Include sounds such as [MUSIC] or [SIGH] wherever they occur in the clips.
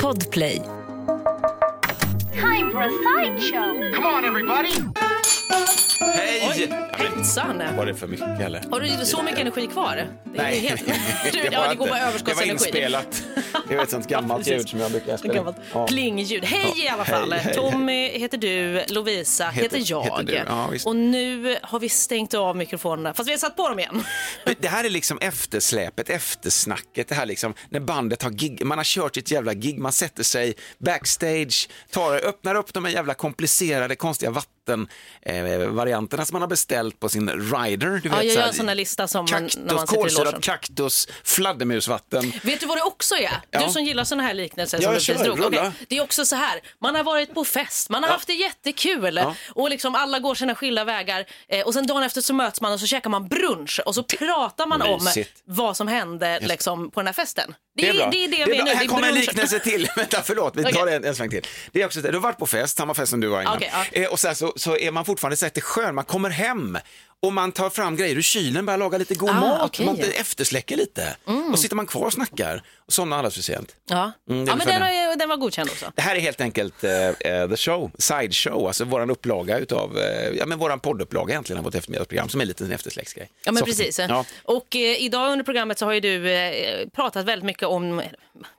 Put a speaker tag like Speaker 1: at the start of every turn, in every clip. Speaker 1: Podplay.
Speaker 2: Time for a sideshow.
Speaker 3: Come on, everybody! Hej!
Speaker 4: Häxan!
Speaker 3: Var det för mycket eller?
Speaker 4: Har du så mycket energi kvar? Det är
Speaker 3: Nej. [LAUGHS]
Speaker 4: helt... Du, ja, det går bara
Speaker 3: Det var
Speaker 4: överskottsenergi. [LAUGHS]
Speaker 3: inspelat. Det var ett sånt gammalt
Speaker 4: Ja, precis.
Speaker 3: ljud som jag brukar
Speaker 4: Ett
Speaker 3: spela.
Speaker 4: gammalt plingljud. Hej i alla fall!
Speaker 3: hej, hej,
Speaker 4: Tommy heter du, Lovisa heter,
Speaker 3: Heter-
Speaker 4: jag.
Speaker 3: heter du, ja, visst.
Speaker 4: och nu har vi stängt av mikrofonerna, fast vi har satt på dem igen.
Speaker 3: Det- Det här är liksom eftersläpet, eftersnacket. Det här liksom när bandet har gig, man har kört ett jävla gig, man sätter sig backstage, tar, öppnar upp de här jävla komplicerade, konstiga vatten eh, varianterna som man har beställt på sin rider. Du
Speaker 4: jag
Speaker 3: vet, så här-
Speaker 4: gör en sån där lista som man- när man
Speaker 3: kaktus,
Speaker 4: sitter i
Speaker 3: Kolsyrat
Speaker 4: logen.
Speaker 3: kaktus, fladdermusvatten.
Speaker 4: Vet du vad det också är?
Speaker 3: Ja.
Speaker 4: Du som gillar såna här liknelser
Speaker 3: Ja,
Speaker 4: som
Speaker 3: jag
Speaker 4: du precis
Speaker 3: kör.
Speaker 4: drog.
Speaker 3: Rulla.
Speaker 4: Okej, Det är också så här, man har varit på fest, man har haft det jättekul och liksom alla går sina skilda vägar eh, och sen dagen efter så möts man och så käkar man brunch och så pratar man
Speaker 3: Mysigt.
Speaker 4: om vad som hände liksom, på den här festen. Det,
Speaker 3: Det
Speaker 4: är,
Speaker 3: är bra.
Speaker 4: det är det,
Speaker 3: är
Speaker 4: vi är
Speaker 3: bra.
Speaker 4: nu.
Speaker 3: Här
Speaker 4: det är
Speaker 3: kommer en
Speaker 4: brunch.
Speaker 3: liknelse till. [LAUGHS] Vänta, förlåt. Vi tar
Speaker 4: Okej.
Speaker 3: en, en sväng till. Det är också, det. du har varit på fest, samma fest som du var innan.
Speaker 4: Okej, ja.
Speaker 3: eh, och sen så, så är man fortfarande så här till skön. Man kommer hem och man tar fram grejer ur kylen, börjar laga lite god
Speaker 4: Ah,
Speaker 3: mat.
Speaker 4: okej. Mm.
Speaker 3: Man eftersläcker lite. Och sitter man kvar och snackar och somnar alldeles för sent.
Speaker 4: Ja,
Speaker 3: Mm, det är
Speaker 4: ja
Speaker 3: väl
Speaker 4: men
Speaker 3: för
Speaker 4: den,
Speaker 3: den.
Speaker 4: har, den var godkänd också.
Speaker 3: Det här är helt enkelt eh, eh, the show, side show, alltså våran upplaga utav, eh, ja men våran poddupplaga egentligen av vårt eftermiddagsprogram som är lite en eftersläcksgrej.
Speaker 4: Ja, men
Speaker 3: Så-
Speaker 4: precis.
Speaker 3: Ja.
Speaker 4: Och eh, idag under programmet så har ju du eh, pratat väldigt mycket om,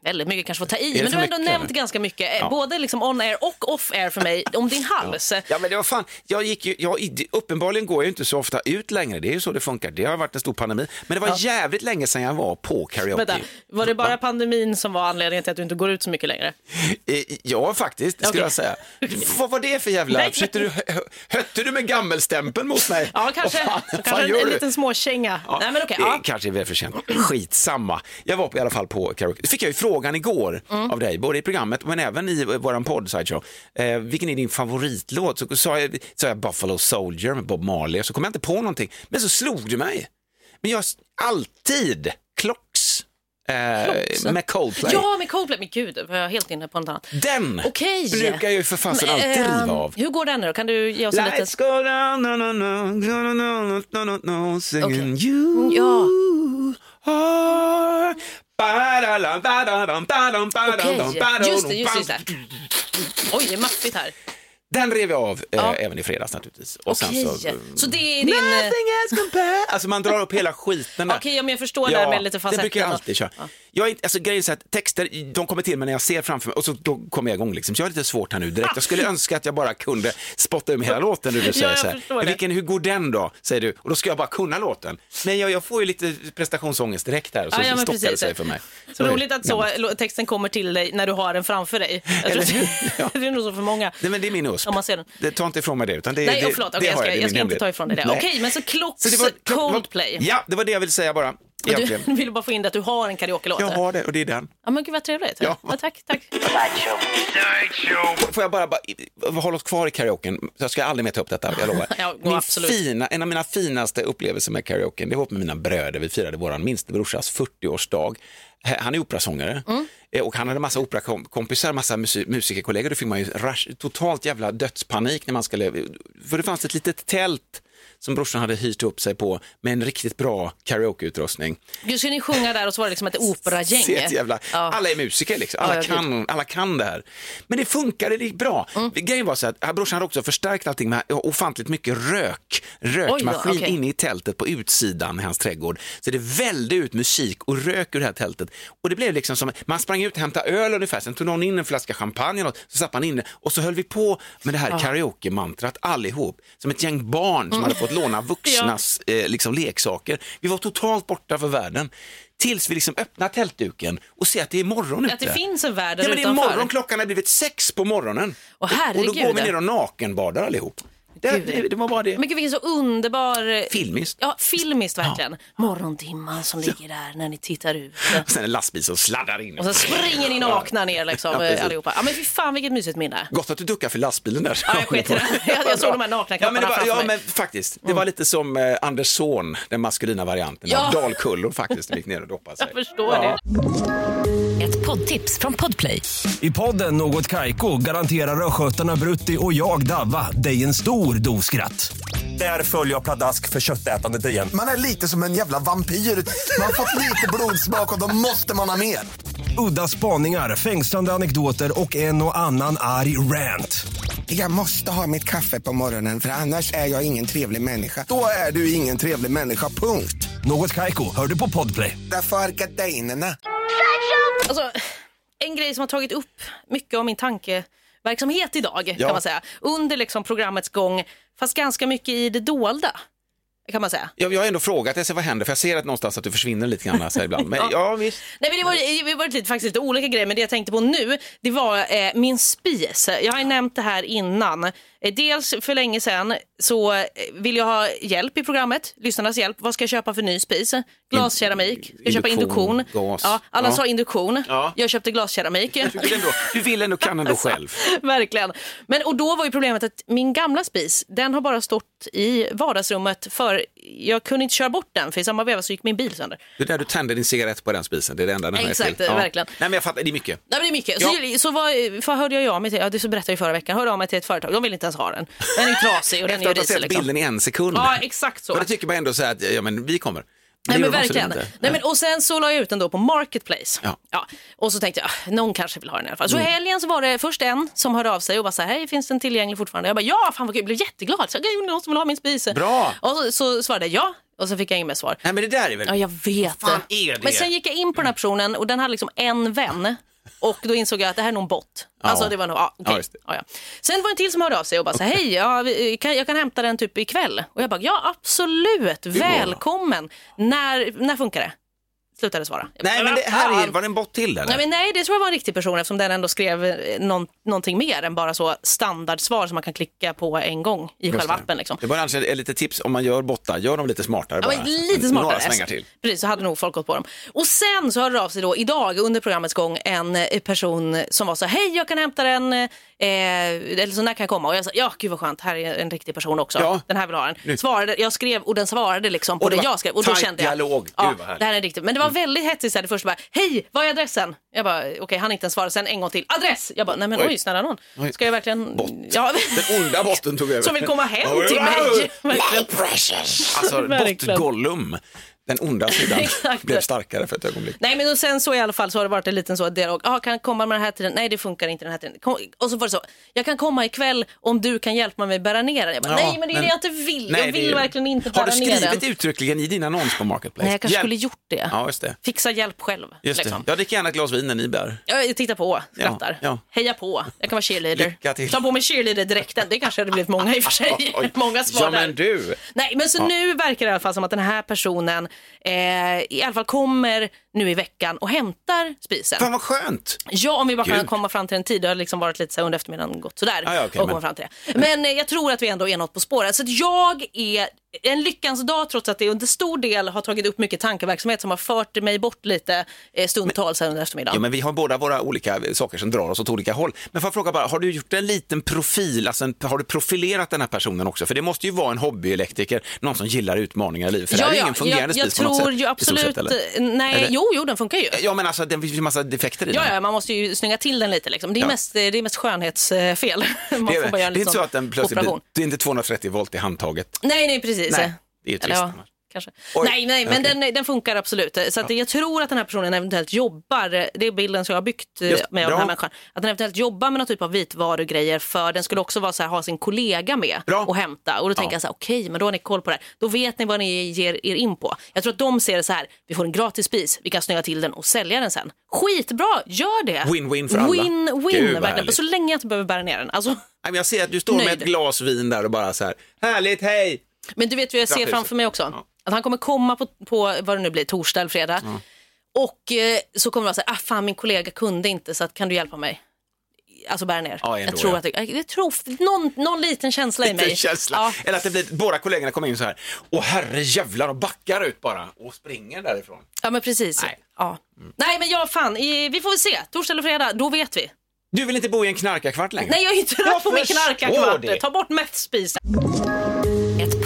Speaker 4: väldigt mycket kanske får ta i,
Speaker 3: det
Speaker 4: men du
Speaker 3: för
Speaker 4: har ändå
Speaker 3: mycket,
Speaker 4: nämnt
Speaker 3: eller?
Speaker 4: ganska mycket, eh, både liksom on-air och off-air för mig, om din hals.
Speaker 3: Ja men det var fan, jag gick ju, jag, uppenbarligen går jag ju inte så ofta ut längre, det är ju så det funkar, det har varit en stor pandemi. Men det var jävligt länge sedan jag var på karaoke.
Speaker 4: Vänta, var det bara pandemin som var anledningen till att du inte går ut så mycket längre?
Speaker 3: Eh, Ja faktiskt, skulle
Speaker 4: Okej.
Speaker 3: jag säga. Vad var det för jävla,
Speaker 4: Nej, men-
Speaker 3: försökte du, hö- hötte du med gammelstämpeln mot mig?
Speaker 4: Ja, kanske.
Speaker 3: Vad fan, vad fan
Speaker 4: kanske en,
Speaker 3: gör
Speaker 4: en
Speaker 3: du?
Speaker 4: liten småkänga.
Speaker 3: Ja,
Speaker 4: Nej, men okej.
Speaker 3: det
Speaker 4: ja.
Speaker 3: Kanske är väl för sent. Skitsamma. Jag var på, i alla fall på karaoke. fick jag ju frågan igår
Speaker 4: Mm.
Speaker 3: av dig, både i programmet men även i eh, våran podd Sideshow. Eh, vilken är din favoritlåt? Så sa jag, sa jag Buffalo Soldier med Bob Marley och så kom jag inte på någonting. Men så slog du mig. Men jag, alltid Clocks, eh, med Coldplay.
Speaker 4: Ja, med Coldplay. Men gud, var jag helt inne på något annat.
Speaker 3: Den
Speaker 4: Okej.
Speaker 3: brukar jag ju för fasen alltid
Speaker 4: Ehm,
Speaker 3: riva av.
Speaker 4: Hur går den nu då? Kan du ge oss en liten...
Speaker 3: Lights go down, no, no, no, no, no, no, no, no, no, singing you
Speaker 4: Mm, Ja.
Speaker 3: are. Ba-da-dam, ba-da-dam, ba-dam, ba-dam,
Speaker 4: Okej,
Speaker 3: ba-dam,
Speaker 4: just det, just det, just
Speaker 3: ba-dam.
Speaker 4: det. Oj, det är maffigt här.
Speaker 3: Den rev jag av eh, även i fredags naturligtvis. Och
Speaker 4: Okej,
Speaker 3: sen så, mm.
Speaker 4: så det är din... eh,
Speaker 3: Nothing has compared. Alltså man drar upp hela skiten där.
Speaker 4: Okej, ja, men jag förstår det här med lite
Speaker 3: det
Speaker 4: falsett.
Speaker 3: brukar jag
Speaker 4: och-
Speaker 3: alltid köra. Jag är inte, alltså, grejen är så att texter, de kommer till mig när jag ser framför mig och så då kommer jag igång liksom. Så jag har lite svårt här nu direkt.
Speaker 4: [LAUGHS]
Speaker 3: Jag skulle önska att jag bara kunde spotta ur mig hela låten när du
Speaker 4: Ja,
Speaker 3: säger
Speaker 4: jag
Speaker 3: så här.
Speaker 4: förstår
Speaker 3: Men
Speaker 4: det.
Speaker 3: vilken, hur går den då? Säger du. Och då ska jag bara kunna låten. Nej, jag, jag får ju lite prestationsångest direkt här och så
Speaker 4: Ja, ja, men
Speaker 3: stockar det
Speaker 4: precis.
Speaker 3: sig för mig. Så
Speaker 4: Roligt att så
Speaker 3: gammalt.
Speaker 4: lo- texten kommer till dig när du har den framför dig. Jag tror
Speaker 3: Eller hur? Ja.
Speaker 4: [LAUGHS] det är nog så för många.
Speaker 3: Nej, men det är min USP.
Speaker 4: Om man ser den.
Speaker 3: Det, ta inte ifrån mig det. Utan det
Speaker 4: Nej,
Speaker 3: det,
Speaker 4: och förlåt. Okej,
Speaker 3: det
Speaker 4: jag
Speaker 3: har
Speaker 4: ska, jag,
Speaker 3: det är
Speaker 4: ska
Speaker 3: min
Speaker 4: inte ta
Speaker 3: hemlighet.
Speaker 4: ifrån dig det.
Speaker 3: Nej.
Speaker 4: Okej, men så Clocks
Speaker 3: Så det var-
Speaker 4: Coldplay.
Speaker 3: Ja, det var det jag ville säga bara.
Speaker 4: Och
Speaker 3: Egentligen.
Speaker 4: du vill bara få in det att du har en karaoke-låt.
Speaker 3: Jag har det och det är den.
Speaker 4: Ja, men gud vad trevligt.
Speaker 3: Ja.
Speaker 4: Ja. tack, tack.
Speaker 3: Får jag bara, bara i- hålla oss kvar i karaoken? Jag ska aldrig mer ta upp detta, jag lovar.
Speaker 4: [LAUGHS] Ja, gå,
Speaker 3: Min
Speaker 4: absolut.
Speaker 3: fina, en av mina finaste upplevelser med karaoken, det var med mina bröder. Vi firade vår minste brorsas 40-årsdag. H- Han är operasångare
Speaker 4: Mm.
Speaker 3: Eh, och han hade massa operakompisar, massa musi- musikerkollegor. Då fick man ju rush, totalt jävla dödspanik när man skulle... För det fanns ett litet tält som brorsan hade hyrt upp sig på med en riktigt bra karaokeutrustning.
Speaker 4: Gud, ska ni sjunga där och så var det liksom ett
Speaker 3: [LAUGHS]
Speaker 4: operagäng.
Speaker 3: Se ett jävla, Alla är musiker, liksom. alla,
Speaker 4: Ja, Mm. ja,
Speaker 3: kan, alla kan det här. Men det funkade, det gick bra. Grejen var så att här, brorsan hade också förstärkt allting med ofantligt mycket rök. Rökmaskin
Speaker 4: Oj då, okej.
Speaker 3: inne i tältet på utsidan i hans trädgård. Så det vällde ut musik och rök ur det här tältet. Och det blev liksom som, man sprang ut och hämtade öl ungefär, sen tog någon in en flaska champagne eller något, så satt man inne och så höll vi på med det här karaoke-mantrat allihop. Som ett gäng barn
Speaker 4: Mm.
Speaker 3: som hade fått låna vuxnas eh, liksom, leksaker. Vi var totalt borta för världen. Tills vi liksom öppnar tältduken och ser att det är morgon ute.
Speaker 4: Att det finns en värld där
Speaker 3: Ja, men det är
Speaker 4: utanför.
Speaker 3: morgon, klockan har blivit sex på morgonen.
Speaker 4: Åh,
Speaker 3: och då går vi
Speaker 4: herregud.
Speaker 3: ner och nakenbadar allihop. Det,
Speaker 4: Gud.
Speaker 3: det, det var bara det.
Speaker 4: Men gud, vilken så underbar... eh,
Speaker 3: Filmiskt.
Speaker 4: Ja, filmiskt verkligen. Morgondimman som ligger där när ni tittar ut.
Speaker 3: Och sen en lastbil som sladdar in.
Speaker 4: Och
Speaker 3: [LAUGHS]
Speaker 4: så springer ni nakna ner liksom
Speaker 3: Ja, precis.
Speaker 4: allihopa. Ja men fy fan vilket mysigt minne.
Speaker 3: Gott att du duckar för lastbilen där.
Speaker 4: Ja, jag sket i det.
Speaker 3: [LAUGHS]
Speaker 4: Jag- jag såg de här nakna
Speaker 3: ja, men
Speaker 4: knapparna
Speaker 3: det var,
Speaker 4: framför
Speaker 3: ja,
Speaker 4: mig. Mm.
Speaker 3: men faktiskt. Det var lite som eh, Andersson, den maskulina varianten.
Speaker 4: Ja.
Speaker 3: av Dalkullor faktiskt, gick ner och doppade sig.
Speaker 4: Jag förstår det.
Speaker 1: Ett poddtips från Podplay.
Speaker 5: I podden Något Kaiko garanterar östgötarna Brutti och jag, Davva, dig en stor dos skratt. Där följer jag pladask för köttätandet igen.
Speaker 6: Man är lite som en jävla vampyr. Man har fått lite blodsmak och då måste man ha mer.
Speaker 5: udda spaningar, fängslande anekdoter och en och annan arg rant.
Speaker 2: Jag måste ha mitt kaffe på morgonen för annars är jag ingen trevlig människa. Då är du ingen trevlig människa, punkt.
Speaker 5: Något Kaiko, hör du på podplay.
Speaker 2: Därför är gardinerna.
Speaker 4: Alltså, en grej som har tagit upp mycket av min tankeverksamhet idag
Speaker 3: Ja.
Speaker 4: kan man säga. Under liksom programmets gång, fast ganska mycket i det dolda kan man säga.
Speaker 3: Jag, jag har ändå frågat dig, så vad händer? För jag ser att någonstans att du försvinner lite grann så här ibland. Men, ja. visst.
Speaker 4: Nej, men det var, det var lite, faktiskt lite olika grejer, men det jag tänkte på nu det var eh, min spis. Jag har ju nämnt det här innan. Eh, Dels för länge sedan så eh, vill jag ha hjälp i programmet, lyssnarnas hjälp. Vad ska jag köpa för ny spis? Glaskeramik, ska jag köpa
Speaker 3: induktion,
Speaker 4: induktion.
Speaker 3: gas.
Speaker 4: Ja, alla
Speaker 3: Ja.
Speaker 4: sa induktion,
Speaker 3: Ja.
Speaker 4: jag köpte glaskeramik. [LAUGHS]
Speaker 3: Du vill ändå, du vill ändå kan ändå
Speaker 4: Alltså.
Speaker 3: själv.
Speaker 4: Verkligen. Men, och då var ju problemet att min gamla spis, den har bara stått i vardagsrummet för jag kunde inte köra bort den för i samma veva så gick min bil sönder.
Speaker 3: Det är där du tänder din cigarett på den spisen, det är det enda den här
Speaker 4: Exakt,
Speaker 3: till.
Speaker 4: verkligen.
Speaker 3: Nej men jag fattar, det är mycket.
Speaker 4: Nej, men det är mycket. Så, så var, för hörde jag ju av mig till, ja, det så berättade jag ju förra veckan, hörde jag av mig till ett företag, de vill inte ens ha den. Den är trasig och den
Speaker 3: Efter
Speaker 4: är
Speaker 3: att ha
Speaker 4: risig.
Speaker 3: sett
Speaker 4: Liksom.
Speaker 3: bilden i en sekund.
Speaker 4: Ja, exakt så.
Speaker 3: Men det tycker man ändå så här att, ja men vi kommer. Det
Speaker 4: Nej,
Speaker 3: gör
Speaker 4: men
Speaker 3: de absolut
Speaker 4: verkligen.
Speaker 3: inte.
Speaker 4: Nej, men, och sen så la jag ut den då på Marketplace.
Speaker 3: Ja. Mm.
Speaker 4: Och så tänkte jag, "Ah, någon kanske vill ha den i alla fall. Så i helgen så var det först en som hörde av sig och bara så här, hej finns den tillgänglig fortfarande? Jag bara, ja fan vad kul, jag blev jätteglad. Så, "Gud, det är någon som vill ha min spis.
Speaker 3: Bra.
Speaker 4: Och så, så svarade jag ja och så fick jag inget mer svar.
Speaker 3: Nej men det där är väl...
Speaker 4: Ja, jag vet
Speaker 3: fan är det?
Speaker 4: Men sen gick jag in på den här personen och den hade liksom en vän. Och då insåg jag att det här är någon bot.
Speaker 3: Ja.
Speaker 4: Alltså det var nog, ja, okej.
Speaker 3: Ja, just det.
Speaker 4: ja, ja. Sen var det en till som hörde av sig och bara så här, hej, ja, vi- kan, jag kan hämta den typ ikväll. Och jag bara, ja absolut, välkommen. När, när funkar det? Slutade svara. Jag bara,
Speaker 3: Nej men det här är, var det en bot till eller?
Speaker 4: Nej, men nej, det tror jag var en riktig person eftersom den ändå skrev eh, någon, någonting mer än bara så standardsvar som man kan klicka på en gång i själva appen. Liksom.
Speaker 3: Det var annars lite tips om man gör bottar, gör dem lite smartare
Speaker 4: Ja,
Speaker 3: bara.
Speaker 4: men lite smartare.
Speaker 3: Några svängar till.
Speaker 4: Precis, så hade nog folk gått på dem. Och sen så hörde av sig då idag under programmets gång en eh, person som var så här, hej jag kan hämta den, eh, eller så när kan jag komma? Och jag sa, ja gud vad skönt, här är en riktig person också,
Speaker 3: Ja.
Speaker 4: den här vill ha den.
Speaker 3: Nu.
Speaker 4: Svarade, jag skrev och den svarade liksom på
Speaker 3: Och det
Speaker 4: det,
Speaker 3: var
Speaker 4: jag skrev och då
Speaker 3: tajt
Speaker 4: kände jag,
Speaker 3: dialog. Gud,
Speaker 4: ja,
Speaker 3: vad härligt. Mm.
Speaker 4: det här är riktigt. Men det var väldigt hetsigt så här, det första bara, hej vad är adressen? Jag bara, okej han inte ens svarade, sen en gång till, adress! Jag bara, nej men
Speaker 3: Oj.
Speaker 4: oj, snälla någon, ska jag verkligen...
Speaker 3: Bott.
Speaker 4: Ja.
Speaker 3: Den onda botten tog över.
Speaker 4: Som vill komma hem till mig. [LAUGHS] Verkligen.
Speaker 3: Alltså
Speaker 4: Verkligen.
Speaker 3: bot-Gollum, den onda
Speaker 4: [LAUGHS]
Speaker 3: sidan,
Speaker 4: Exakt.
Speaker 3: blev starkare för ett ögonblick.
Speaker 4: Nej men och sen så i alla fall så har det varit en liten så dialog. Ah, kan jag komma med den här tiden? Nej det funkar inte den här tiden. Kom, och så var det så. Jag kan komma ikväll om du kan hjälpa mig bära ner den. Jag bara,
Speaker 3: Ja,
Speaker 4: nej men det är det jag inte vill.
Speaker 3: Nej,
Speaker 4: jag
Speaker 3: det
Speaker 4: vill
Speaker 3: är-
Speaker 4: verkligen inte
Speaker 3: Har
Speaker 4: bära
Speaker 3: du
Speaker 4: ner den.
Speaker 3: skrivit uttryckligen i din annons på Marketplace?
Speaker 4: Nej jag kanske
Speaker 3: Hjälp-
Speaker 4: skulle gjort det.
Speaker 3: Ja, just det.
Speaker 4: Fixa hjälp själv.
Speaker 3: Just
Speaker 4: liksom.
Speaker 3: det. Jag dricker gärna ett glas vin när ni bär.
Speaker 4: Jag jag tittar på, skrattar,
Speaker 3: Ja, ja.
Speaker 4: hejar på. Jag kan vara cheerleader.
Speaker 3: Lycka till.
Speaker 4: Ta på mig cheerleader-dräkten. Det kanske hade blivit många i och för sig. [LAUGHS]
Speaker 3: Oj.
Speaker 4: [LAUGHS] många svar
Speaker 3: Ja,
Speaker 4: där.
Speaker 3: men du.
Speaker 4: Nej, men så nu verkar det i alla fall som att den här personen eh, i alla fall kommer nu i veckan och hämtar spisen.
Speaker 3: Fan vad skönt!
Speaker 4: Ja, om vi bara kan
Speaker 3: Gud.
Speaker 4: komma fram till en tid. Det har liksom varit lite så här under eftermiddagen gått sådär.
Speaker 3: Ah, ja, okej,
Speaker 4: och
Speaker 3: men-
Speaker 4: komma fram till det. Men eh, jag tror att vi ändå är något på spåret. Så att jag är en lyckans dag trots att det under stor del har tagit upp mycket tankeverksamhet som har fört mig bort lite eh, stundtals här under eftermiddagen.
Speaker 3: Ja, men vi har båda våra olika saker som drar oss åt olika håll. Men får jag fråga bara, har du gjort en liten profil, alltså en, har du profilerat den här personen också? För det måste ju vara en hobbyelektriker, någon som gillar utmaningar i livet. För det här är ju ingen fungerande
Speaker 4: jag, jag
Speaker 3: spis på något
Speaker 4: tror
Speaker 3: sätt.
Speaker 4: ju
Speaker 3: i stort
Speaker 4: absolut... eh,
Speaker 3: sett, eller?
Speaker 4: nej,
Speaker 3: Eller?
Speaker 4: jo, jo, den funkar ju.
Speaker 3: Ja, men alltså det finns ju massa defekter i
Speaker 4: Ja,
Speaker 3: den.
Speaker 4: ja, man måste ju snygga till den lite. Liksom. Det, är
Speaker 3: Ja.
Speaker 4: mest, det är mest skönhetsfel. [LAUGHS] man
Speaker 3: Det,
Speaker 4: får bara
Speaker 3: är,
Speaker 4: göra
Speaker 3: det
Speaker 4: en
Speaker 3: är inte
Speaker 4: liten
Speaker 3: så att den plötsligt blir,
Speaker 4: operation.
Speaker 3: det är inte 230 volt i handtaget.
Speaker 4: Nej, nej precis.
Speaker 3: Nej, det är ju trist
Speaker 4: Eller, ja,
Speaker 3: annars.
Speaker 4: kanske.
Speaker 3: Oj,
Speaker 4: Nej, nej, men
Speaker 3: okej.
Speaker 4: den, den funkar absolut. Så att jag tror att den här personen eventuellt jobbar, det är bilden som jag har byggt eh,
Speaker 3: Just,
Speaker 4: med av den
Speaker 3: bra.
Speaker 4: här människan, att den eventuellt jobbar med någon typ av vitvarugrejer för den skulle också vara så här, ha sin kollega med
Speaker 3: Bra.
Speaker 4: och hämta. Och då tänker jag så här, okej, men då har ni koll på det här. Då vet ni vad ni ger er in på. Jag tror att de ser det så här, vi får en gratis spis, vi kan snöa till den och sälja den sen. Skitbra, gör det!
Speaker 3: Win-win för alla. Gud, vad
Speaker 4: Win-win, verkligen.
Speaker 3: härligt.
Speaker 4: Så länge jag inte behöver bära ner den. Alltså,
Speaker 3: Nej, men Jag ser att du står med
Speaker 4: Nöjd.
Speaker 3: ett glas vin där och bara så här, härligt, hej!
Speaker 4: Men du vet vad jag ser
Speaker 3: Trapphuset.
Speaker 4: framför mig också? Att han kommer komma på, på vad det nu blir, torsdag eller fredag. Och eh, så kommer det vara så här, ah, fan min kollega kunde inte så att, kan du hjälpa mig? Alltså bära ner.
Speaker 3: Ja, ändå,
Speaker 4: jag tror
Speaker 3: ja.
Speaker 4: att det, jag tror, någon, någon liten känsla i mig.
Speaker 3: Lite känsla.
Speaker 4: Ja.
Speaker 3: Eller att det blir, båda kollegorna kommer in så här, åh herre jävlar och backar ut bara och springer därifrån.
Speaker 4: ja, men precis.
Speaker 3: Nej. Mm.
Speaker 4: Nej. Ja. Nej, men ja, fan, i, vi får väl se. Torsdag eller fredag, då vet vi.
Speaker 3: Du vill inte bo i en knarkarkvart längre?
Speaker 4: Nej, jag är inte trött på min
Speaker 3: förstår det.
Speaker 4: knarkarkvart. Ta bort mättspisen.
Speaker 1: Ett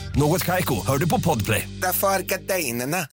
Speaker 5: Något Kaiko, hör du på Podplay.
Speaker 2: Därför är gardinerna.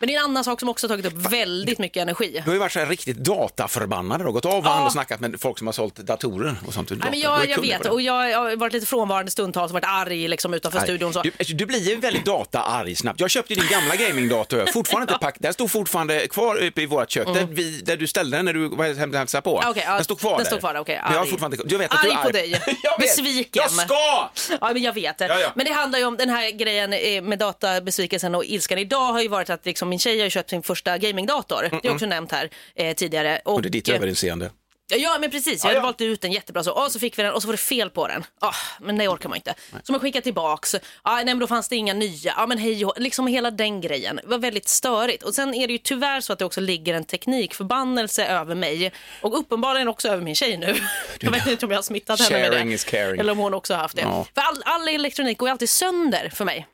Speaker 4: Men det är en annan sak som också har tagit upp väldigt mycket energi.
Speaker 3: Du har ju varit så här riktigt dataförbannad och gått av varandra
Speaker 4: Ja.
Speaker 3: och snackat med folk som har sålt datorer och sånt.
Speaker 4: Nej, men jag, jag vet och jag, jag har varit lite frånvarande stundtals och varit arg liksom, utanför studion. och Så.
Speaker 3: Du, du blir ju väldigt dataarg snabbt. Jag köpte ju din
Speaker 4: [LAUGHS]
Speaker 3: gamla gamingdator, fortfarande inte packad. Den stod fortfarande kvar uppe i vårt kök, där, vi, där du ställde den när du var hem- hälsade på.
Speaker 4: Mm. Okej, ja,
Speaker 3: den stod kvar
Speaker 4: den
Speaker 3: där.
Speaker 4: stod kvar där, okej,
Speaker 3: Men jag har
Speaker 4: arg.
Speaker 3: fortfarande inte- Jag vet att du är
Speaker 4: Arg
Speaker 3: arg.
Speaker 4: på dig.
Speaker 3: [LAUGHS] Jag vet.
Speaker 4: Besviken.
Speaker 3: Jag ska!
Speaker 4: Ja, men jag vet det.
Speaker 3: Ja, ja.
Speaker 4: Men det handlar ju om den här grejen eh, med databesvikelsen och ilskan idag har ju varit att liksom, min tjej har ju köpt sin första gamingdator. Det är också nämnt här eh, tidigare.
Speaker 3: Och det är ditt
Speaker 4: eh,
Speaker 3: överinseende.
Speaker 4: Ja men precis, jag hade valt ut den jättebra så, ah, så fick vi den och så var det fel på den. Ah, men det orkar man inte. Så man skickade tillbaks, ah, nej men då fanns det inga nya, ah, men hej och hå. liksom hela den grejen. Det var väldigt störigt. Och sen är det ju tyvärr så att det också ligger en teknikförbannelse över mig och uppenbarligen också över min tjej nu. [LAUGHS] Jag vet inte om jag har smittat henne med det.
Speaker 3: Sharing is caring.
Speaker 4: Eller om hon också har haft det.
Speaker 3: Ja.
Speaker 4: För all, all elektronik går ju alltid sönder för mig.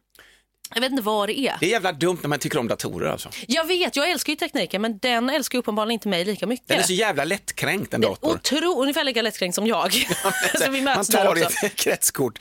Speaker 4: Jag vet inte vad det är.
Speaker 3: Det är jävla dumt när man tycker om datorer alltså.
Speaker 4: Jag vet, jag älskar ju tekniken men den älskar ju uppenbarligen inte mig lika mycket.
Speaker 3: Den är så jävla lättkränkt en dator.
Speaker 4: Otro, ungefär lika lättkränkt som
Speaker 3: [LAUGHS]
Speaker 4: jag. så vi
Speaker 3: man
Speaker 4: möts där
Speaker 3: tar
Speaker 4: också. [LAUGHS]
Speaker 3: ett [LAUGHS] kretskort.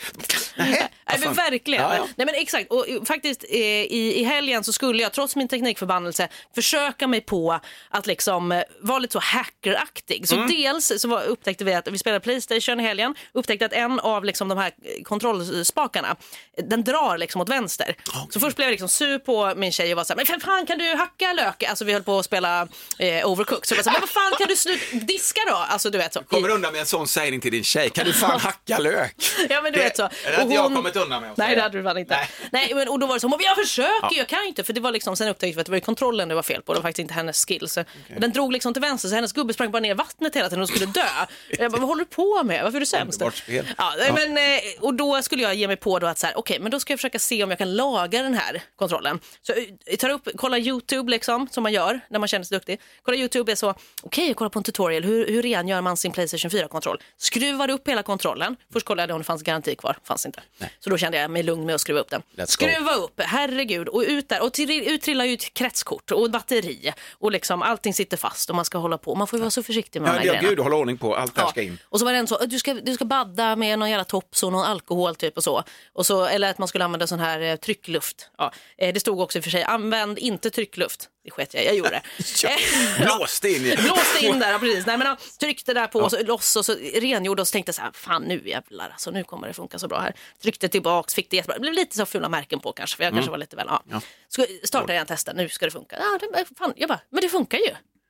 Speaker 4: Nej, men verkligen.
Speaker 3: Ja, ja.
Speaker 4: Nej, men exakt. Och, eh, faktiskt, eh, i, I helgen så skulle jag, trots min teknikförbannelse, försöka mig på att liksom, eh, vara lite så hackeraktig.
Speaker 3: Mm.
Speaker 4: Så dels så var, upptäckte vi att vi spelade Playstation i helgen, upptäckte att en av liksom, de här eh, kontrollspakarna, eh, den drar liksom åt vänster. Så först blev jag liksom sur på min tjej och var så här, men för fan kan du hacka löken? Alltså vi höll på att spela eh, Overcooked. Så jag var så här, men vad fan kan du sluta diska då? Alltså du vet så.
Speaker 3: Kommer undan med en sån sägning till din tjej. Kan
Speaker 4: [LAUGHS]
Speaker 3: du fan hacka lök?
Speaker 4: Ja men du
Speaker 3: Det-
Speaker 4: vet så.
Speaker 3: det hade jag kommit undan med att
Speaker 4: Nej
Speaker 3: säga.
Speaker 4: det hade du fan inte. Nej.
Speaker 3: Nej.
Speaker 4: men, och då var det så, men jag försöker ju, jag kan ju inte. För det var liksom, sen upptäckte vi att det var ju kontrollen det var fel på, det var faktiskt inte hennes skills. Den drog liksom till vänster så hennes gubbe sprang bara ner i vattnet hela tiden och skulle dö. jag bara, vad håller du på med? Varför är du sämst?
Speaker 3: Underbart spel.
Speaker 4: Ja, nej, Men, eh, och då skulle jag ge mig på då att så här, okej men då ska jag försöka se om jag kan laga den här kontrollen. Så eh, jag tar upp, kollar YouTube liksom, som man gör när man känner sig duktig. Kollar YouTube är så, okej jag kollar på en tutorial, hur, hur rengör man sin Playstation 4-kontroll? Skruvar upp hela kontrollen. Först kollade jag om det fanns garanti kvar, fanns inte. Så då kände jag mig lugn med att skruva upp den.
Speaker 3: Let's go.
Speaker 4: skruva upp, herregud, och ut där. Och till, ut trillar ju ett kretskort och batteri och liksom allting sitter fast och man ska hålla på. Man får ju vara så försiktig med de
Speaker 3: Ja,
Speaker 4: här
Speaker 3: det
Speaker 4: grejerna.
Speaker 3: gud, hålla ordning på. Allt det här ska in.
Speaker 4: Och så var det en så, "Äh, du ska, du ska badda med någon jävla tops och någon alkohol typ och så. Och så eller att man skulle använda sån här eh, tryckluft. Ja. Eh, det stod också i och för sig, använd inte tryckluft. Det sket jag i, jag
Speaker 3: [LAUGHS]
Speaker 4: gjorde det. Eh,
Speaker 3: Blåste in i.
Speaker 4: Blåste in där, ja, precis. Nej, men
Speaker 3: [LAUGHS]
Speaker 4: han tryckte där på och så loss och så rengjorde och så tänkte jag så här, fan nu jävlar alltså, nu kommer det funka så bra här. Tryckte tillbaks, fick det jättebra. Det blev lite så fula märken på kanske, för jag
Speaker 3: Mm.
Speaker 4: kanske var lite väl, ja. Så startade jag en testen, nu ska det funka. Ja, det, fan. Jag bara, men det funkar ju.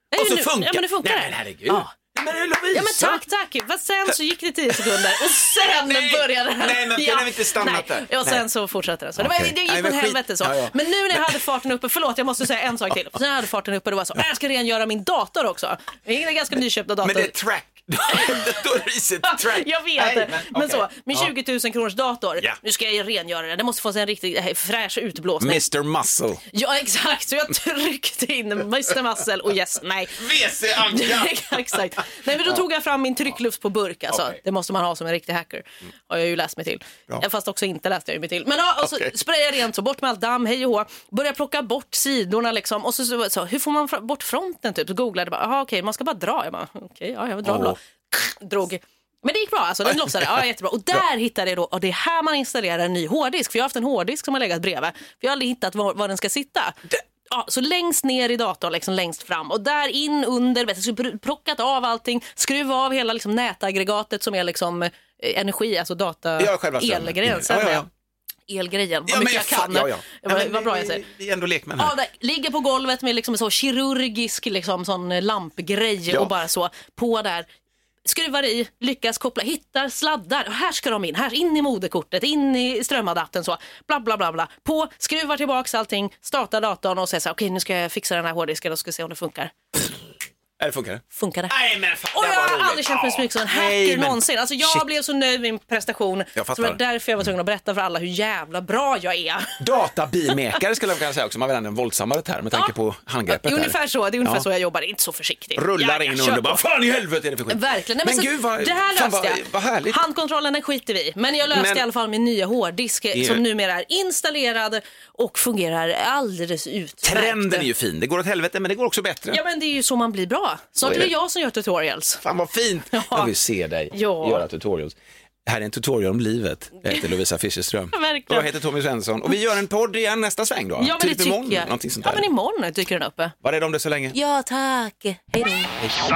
Speaker 4: Det är
Speaker 3: Och så
Speaker 4: ju nu-
Speaker 3: funkar
Speaker 4: Ja, men det funkar.
Speaker 3: Nej, men herregud.
Speaker 4: Ja.
Speaker 3: Nej, Men Lovisa!
Speaker 4: Ja men tack, tack. Fast sen så gick det 10 sekunder och sen
Speaker 3: [LAUGHS] Nej,
Speaker 4: började den.
Speaker 3: nej, men kunde vi inte stannat
Speaker 4: nej.
Speaker 3: där?
Speaker 4: Och sen
Speaker 3: Nej.
Speaker 4: så fortsatte den. Så det,
Speaker 3: Okej.
Speaker 4: var, det
Speaker 3: Nej,
Speaker 4: gick
Speaker 3: men
Speaker 4: åt
Speaker 3: skit.
Speaker 4: helvete så.
Speaker 3: Ja, ja.
Speaker 4: Men nu när jag
Speaker 3: [LAUGHS]
Speaker 4: hade farten uppe, förlåt jag måste säga en sak till. Sen när jag hade farten uppe då var jag så, "Äh, jag ska rengöra min dator också. Det är en ganska nyköpta dator.
Speaker 3: Men det
Speaker 4: [LAUGHS]
Speaker 3: är track. [LAUGHS] Då är det riset track.
Speaker 4: Jag vet
Speaker 3: Nej,
Speaker 4: det.
Speaker 3: men,
Speaker 4: Men
Speaker 3: okej.
Speaker 4: så, min
Speaker 3: Ja.
Speaker 4: 20 000 kronors dator.
Speaker 3: Ja.
Speaker 4: Nu ska jag ju rengöra den. Den måste få sig en riktigt eh, fräsch utblåsning.
Speaker 3: Mr Muscle.
Speaker 4: Ja exakt, så jag tryckte in Mr. Muscle och yes, nej.
Speaker 3: WC
Speaker 4: [LAUGHS]
Speaker 3: Anka!
Speaker 4: Exakt. Nej, men då tog jag fram min tryckluft på burk. Alltså.
Speaker 3: Okej.
Speaker 4: Det måste man ha som en riktig hacker. Har jag ju läst mig till. Ja. Fast också inte läste jag ju mig till. Men ja, och så
Speaker 3: Okej.
Speaker 4: sprayar jag rent så, bort med allt damm, hej och hå. Börjar plocka bort sidorna liksom. Och så, så, så hur får man fra- bort fronten typ? Så googlade jag bara, aha, okej, man ska bara dra. Jag bara, okej, ja, jag drar
Speaker 3: Åh.
Speaker 4: bra. Drog. Men det gick bra, alltså, den lossade. Ja, jättebra. Och där hittade jag då, och det är här man installerar en ny hårddisk. För jag har haft en hårddisk som har legat bredvid. För jag har aldrig hittat var, var den ska sitta. Ja, så längst ner i datorn, liksom längst fram. Och där in under, vet du, så pr- plockat av allting, skruva av hela liksom, nätaggregatet som är liksom, eh, energi, alltså data,
Speaker 3: Ja, själva strömmen. Mm.
Speaker 4: elgrejen. Sen
Speaker 3: Ja, ja, ja.
Speaker 4: var jag- Elgrejen, vad
Speaker 3: Ja, men
Speaker 4: mycket
Speaker 3: jag
Speaker 4: jag kan.
Speaker 3: fan, ja, ja.
Speaker 4: Vad-
Speaker 3: Nej, men
Speaker 4: vad bra jag
Speaker 3: vi-
Speaker 4: säger.
Speaker 3: Vi är ändå lekmän
Speaker 4: Ja,
Speaker 3: här.
Speaker 4: där, ligger på golvet med liksom en så kirurgisk liksom, sån eh, lampgrej
Speaker 3: Ja.
Speaker 4: och bara så på där. Skruvar i, lyckas koppla, hittar sladdar. Och här ska de in, här in i moderkortet, in i strömadaptern så. Bla bla bla bla. På, skruvar tillbaks allting, startar datorn och säger så här, okej nu ska jag fixa den här hårddisken och ska se om det funkar.
Speaker 3: Ja, det funkar.
Speaker 4: Funkar det?
Speaker 3: Nej men fan,
Speaker 4: Och
Speaker 3: det
Speaker 4: jag
Speaker 3: var roligt.
Speaker 4: har aldrig känt mig så mycket som liksom en hacker
Speaker 3: Nej, men-
Speaker 4: någonsin. Alltså jag
Speaker 3: Shit.
Speaker 4: blev så nöjd med min prestation. så
Speaker 3: Jag fattar.
Speaker 4: det var därför jag var tvungen att berätta för alla hur jävla bra jag är.
Speaker 3: Databimäkare skulle jag kunna säga också, man vill använda en våldsammare term med tanke
Speaker 4: Ja.
Speaker 3: på handgreppet. där.
Speaker 4: Ungefär så, det är ungefär
Speaker 3: Ja.
Speaker 4: så jag jobbar, inte så försiktigt.
Speaker 3: Rullar
Speaker 4: Ja, ja,
Speaker 3: in
Speaker 4: kör
Speaker 3: under
Speaker 4: på.
Speaker 3: bara, fan i helvete är det för skit?
Speaker 4: Verkligen. Nej, men
Speaker 3: men,
Speaker 4: så,
Speaker 3: gud vad,
Speaker 4: det här löste
Speaker 3: fan, vad,
Speaker 4: jag.
Speaker 3: vad härligt.
Speaker 4: Handkontrollen den skiter vi i. Men jag löste
Speaker 3: Men-
Speaker 4: i alla fall min nya hårddisk eh,
Speaker 3: är-
Speaker 4: som numera är installerad och fungerar alldeles utmärkt.
Speaker 3: Trenden är ju fin, det går åt helvete men det går också bättre.
Speaker 4: Ja men det är ju så man blir bra. på. Snart
Speaker 3: är
Speaker 4: är det
Speaker 3: det.
Speaker 4: jag som gör tutorials.
Speaker 3: Fan vad fint! Jag vill se dig
Speaker 4: Ja.
Speaker 3: göra tutorials. Här är en tutorial om livet. Jag heter Lovisa Fischerström.
Speaker 4: Verkligen.
Speaker 3: Och jag heter Tommy Svensson. Och vi gör en podd igen nästa sväng då.
Speaker 4: Ja, men
Speaker 3: typ
Speaker 4: det tycker
Speaker 3: imorgon.
Speaker 4: jag.
Speaker 3: Någonting sånt
Speaker 4: ja,
Speaker 3: där.
Speaker 4: men imorgon dyker den upp.
Speaker 3: Var rädd om det så länge.
Speaker 4: Ja, tack. Hej då.